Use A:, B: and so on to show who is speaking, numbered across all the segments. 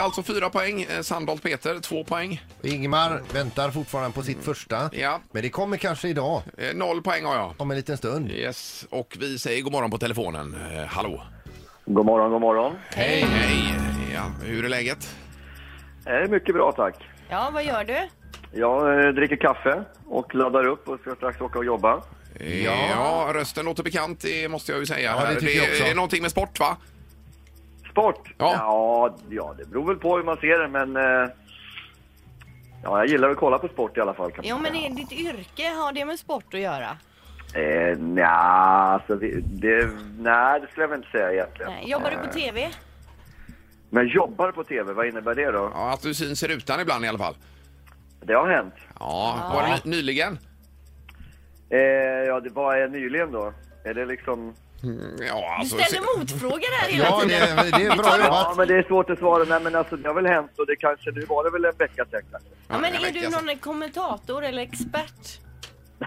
A: alltså fyra poäng. Eh, Sandholt Peter, två poäng.
B: Ingmar väntar fortfarande på sitt första.
A: Mm. Ja.
B: Men det kommer kanske idag,
A: Eh, noll poäng har jag.
B: om en liten stund.
A: Yes, och vi säger god morgon på telefonen. Eh, hallå.
C: God morgon, god morgon.
A: Hej, hej. Ja, hur är läget?
C: Eh, mycket bra, tack.
D: Ja, vad gör du?
C: Jag eh, dricker kaffe och laddar upp och ska strax åka och jobba.
A: Eh, Ja. rösten låter bekant, det måste jag ju säga.
B: Ja, det tycker jag också.
A: är någonting med sport, va?
C: Sport?
A: Ja.
C: ja, ja, det beror väl på hur man ser det, men... Eh, ja, jag gillar att kolla på sport i alla fall. Kan man
D: Jo, men
C: säga.
D: är ditt yrke, har det med sport att göra?
C: Eh, nja, alltså, det, det, nej, det skulle jag väl inte säga egentligen.
D: Nej. Jobbar du på TV?
C: Men jobbar på TV, vad innebär det då?
A: Ja, att du syns i rutan ibland i alla fall.
C: Det har hänt.
A: Ja, var det ny- nyligen?
C: Eh, ja, det var eh, nyligen då. Är det liksom...
A: Ja,
D: Du
A: alltså,
D: ställer motfrågor här hela
B: Ja, det,
D: tiden.
B: det är bra
C: Ja,
B: jobbat.
C: men det är svårt att svara. Nej, men alltså, det har väl hänt och det kanske... Nu var det väl en vecka sedan kanske.
D: Ja, men är
A: verkar
D: du
B: alltså.
A: så.
D: någon kommentator eller expert?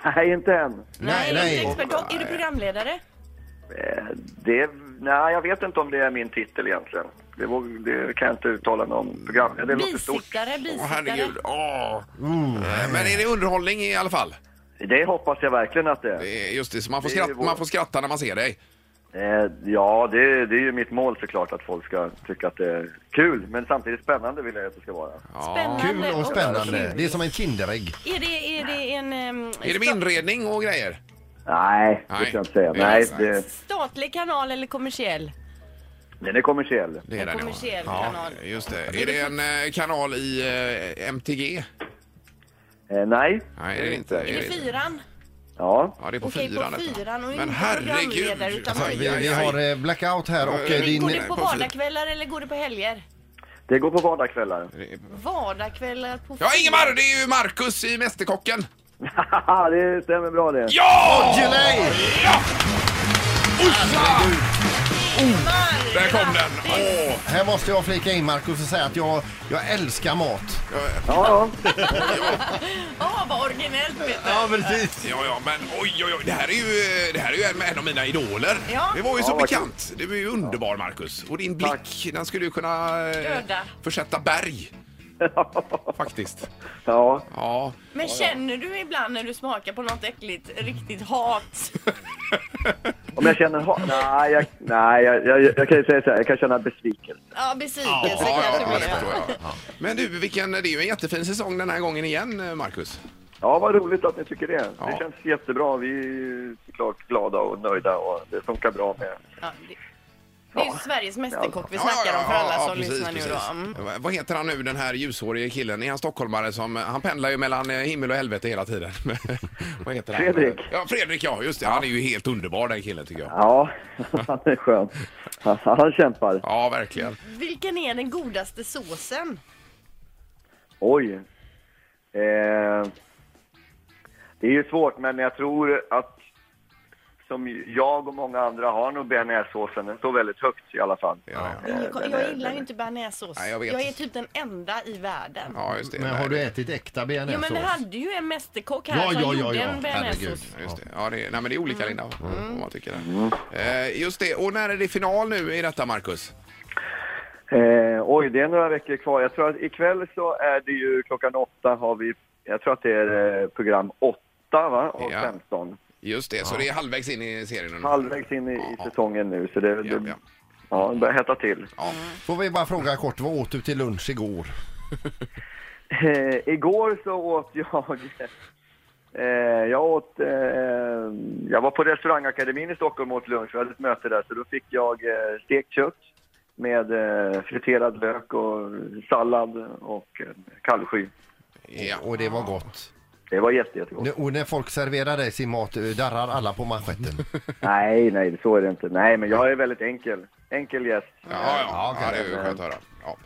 C: Nej, inte än.
B: Nej,
D: Är du,
B: nej.
D: expert. Och Är du programledare?
C: Eh, Det, nej, jag vet inte om det är min titel egentligen. Det, våg- det kan jag inte uttala mig om. Program, det låter stort.
D: Bisittare,
A: Åh,
D: bisittare.
A: herregud. Åh. Eh, Men är det underhållning i alla fall?
C: Det hoppas jag verkligen att det är.
A: Det är Just det, så man får,
C: Det är
A: skratta,
C: vår-
A: man får skratta när man ser dig.
C: Eh, Ja, det, det är ju mitt mål såklart att folk ska tycka att det är kul. Men samtidigt spännande vill jag att det ska vara.
D: Spännande
B: Kul och spännande.
D: kul.
B: Det är som en Kinderägg.
D: Är det, är det en ehm,
A: Är det med inredning och grejer?
C: Nej, det
A: Nej.
C: kan jag inte säga.
A: Det är
C: Nej,
A: sant.
C: det,
D: sta- statlig kanal eller kommersiell?
C: den är kommersiell.
A: Det
D: En
A: den, ja.
D: kommersiell
A: ja.
D: kanal.
A: Just det. Är det en eh, kanal i eh, MTG?
C: Eh, Nej,
A: Nej, det är det inte.
D: Är det
A: inte.
D: fyran?
C: Ja,
A: Ja, det är på
D: Okej, på
A: fyran. detta.
D: fyran och
A: Men
D: inte
A: herregud!
D: programledare, utan
A: Alltså,
D: man-
B: Vi, vi har eh, blackout här och eh,
D: Går
B: din...
D: det på
A: på
D: vardagskvällar eller går det på helger?
C: det går på vardagskvällar.
D: Vardagskvällar på
A: Ja, Ingemar! Det är ju Marcus i Mästerkocken!
C: Haha, det stämmer bra det.
A: Ja!
B: Gelé!
A: Ja! Oj,
D: Ingemar!
A: Där kom den!
D: Grattis!
A: Åh,
B: Här måste jag flika in Marcus och säga att jag, jag älskar mat.
C: Ja, ja.
D: Ja, vad originellt Peter!
B: Ja, precis.
A: ja, ja, men oj, oj, oj. Det här är ju, det här är ju en, en av mina idoler.
D: Ja.
A: Det var ju så
C: Ja, vad
A: bekant. Du är ju underbar, Marcus. Och din blick, den skulle ju kunna eh,
D: Döda.
A: försätta berg. Faktiskt.
C: ja.
A: Ja.
D: Men känner du ibland när du smakar på något äckligt riktigt hat?
C: Om jag känner hat? Nej, jag, nej jag, jag, jag kan ju säga så här, jag kan känna besvikelse.
D: Ja,
A: Ja,
D: besvikelse
A: ja,
D: kanske
A: ja, det
D: blir.
A: förstår jag. Men du, vilken, det är ju en jättefin säsong den här gången igen, eh, Marcus.
C: Ja, vad roligt att ni tycker det.
A: Ja.
C: Det känns jättebra. Vi är såklart glada och nöjda och det funkar bra med.
D: Ja, det- det är ju Sveriges Mästerkock vi
A: Ja, ja,
D: snackar om för
A: ja,
D: alla
A: ja,
D: som
A: precis,
D: lyssnar nu då.
A: precis.
D: Mm.
A: Va- Vad heter han nu, den här ljushårige killen? Är han stockholmare som... Han pendlar ju mellan eh, himmel och helvete hela tiden. Vad heter han?
C: Fredrik.
A: Ja, Fredrik ja, just det. Han är ju helt underbar den killen tycker jag.
C: Ja, han är skön. Han, han kämpar.
A: Ja, verkligen.
D: Vilken är den godaste såsen?
C: Oj. Eh, det är ju svårt, men jag tror att som jag och många andra har nog bearnaisesåsen. Den står väldigt högt i alla fall.
A: Ja, ja.
C: Eh, den är-
D: Jag gillar ju inte bearnaisesås.
A: Nej, jag vet.
D: är typ den enda i världen.
A: ja, just det.
B: Men har du ätit äkta
D: Jo, men vi
B: bearnaisesås?
D: hade ju en mästerkock här
B: Ja,
D: som
B: ja, ja,
D: gjorde
B: ja.
D: en
B: Herregud.
D: bearnaisesås.
A: Ja, Just det. Ja, det, är- nej, men det är
D: Mm.
A: olika, Linda. Om man tycker det.
C: Mm.
A: Eh, just det. Och när är det final nu i detta, Marcus?
C: Eh, oj, det är några veckor kvar. Jag tror att ikväll så är det ju klockan åtta har vi, jag tror att det är eh, program åtta va? Och
A: Ja.
C: 15.
A: Just det, så det är halvvägs in i serien nu.
C: Halvvägs in i, i säsongen nu så det,
A: Ja,
C: det,
A: ja.
C: ja, det börjar hetta till.
D: Mm.
B: Får vi bara fråga kort, vad åt du till lunch igår?
C: Eh, igår så åt jag, eh, jag åt, eh, jag var på restaurangakademin i Stockholm och åt lunch, vi hade ett möte där så då fick jag eh, stekt kött med eh, friterad lök och sallad och eh, kallsky.
A: Ja.
B: Och det var gott.
C: Det var jätte, jättegott.
B: Nu- Och när folk serverar dig sin mat eh, darrar alla på manschetten.
C: Nej, nej, så är det inte. Nej, men jag är väldigt enkel. Enkel gäst.
A: Ja, ja, ja, det är ju skönt att höra. Ja.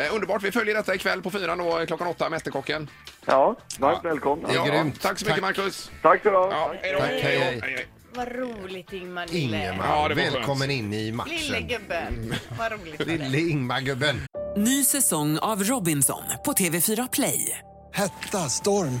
A: Eh, underbart, vi följer detta ikväll på fyran då, eh, klockan åtta, Mästerkocken.
C: Ja, varmt välkomna.
B: är grymt.
A: Tack så mycket
B: Tack.
A: Marcus!
C: Tack för idag.
A: Ja, hej då.
B: Tack, hej,
A: Hej då.
B: hej.
D: Vad roligt Ingmar lille.
A: Ja,
B: Ingemar,
A: det var skönt.
B: välkommen in i
D: Lille
B: matchen.
D: gubben. Vad roligt. var det.
B: Lille Ingmar-gubben.
E: Ny säsong av Robinson på TV4 Play.
F: Hetta, storm,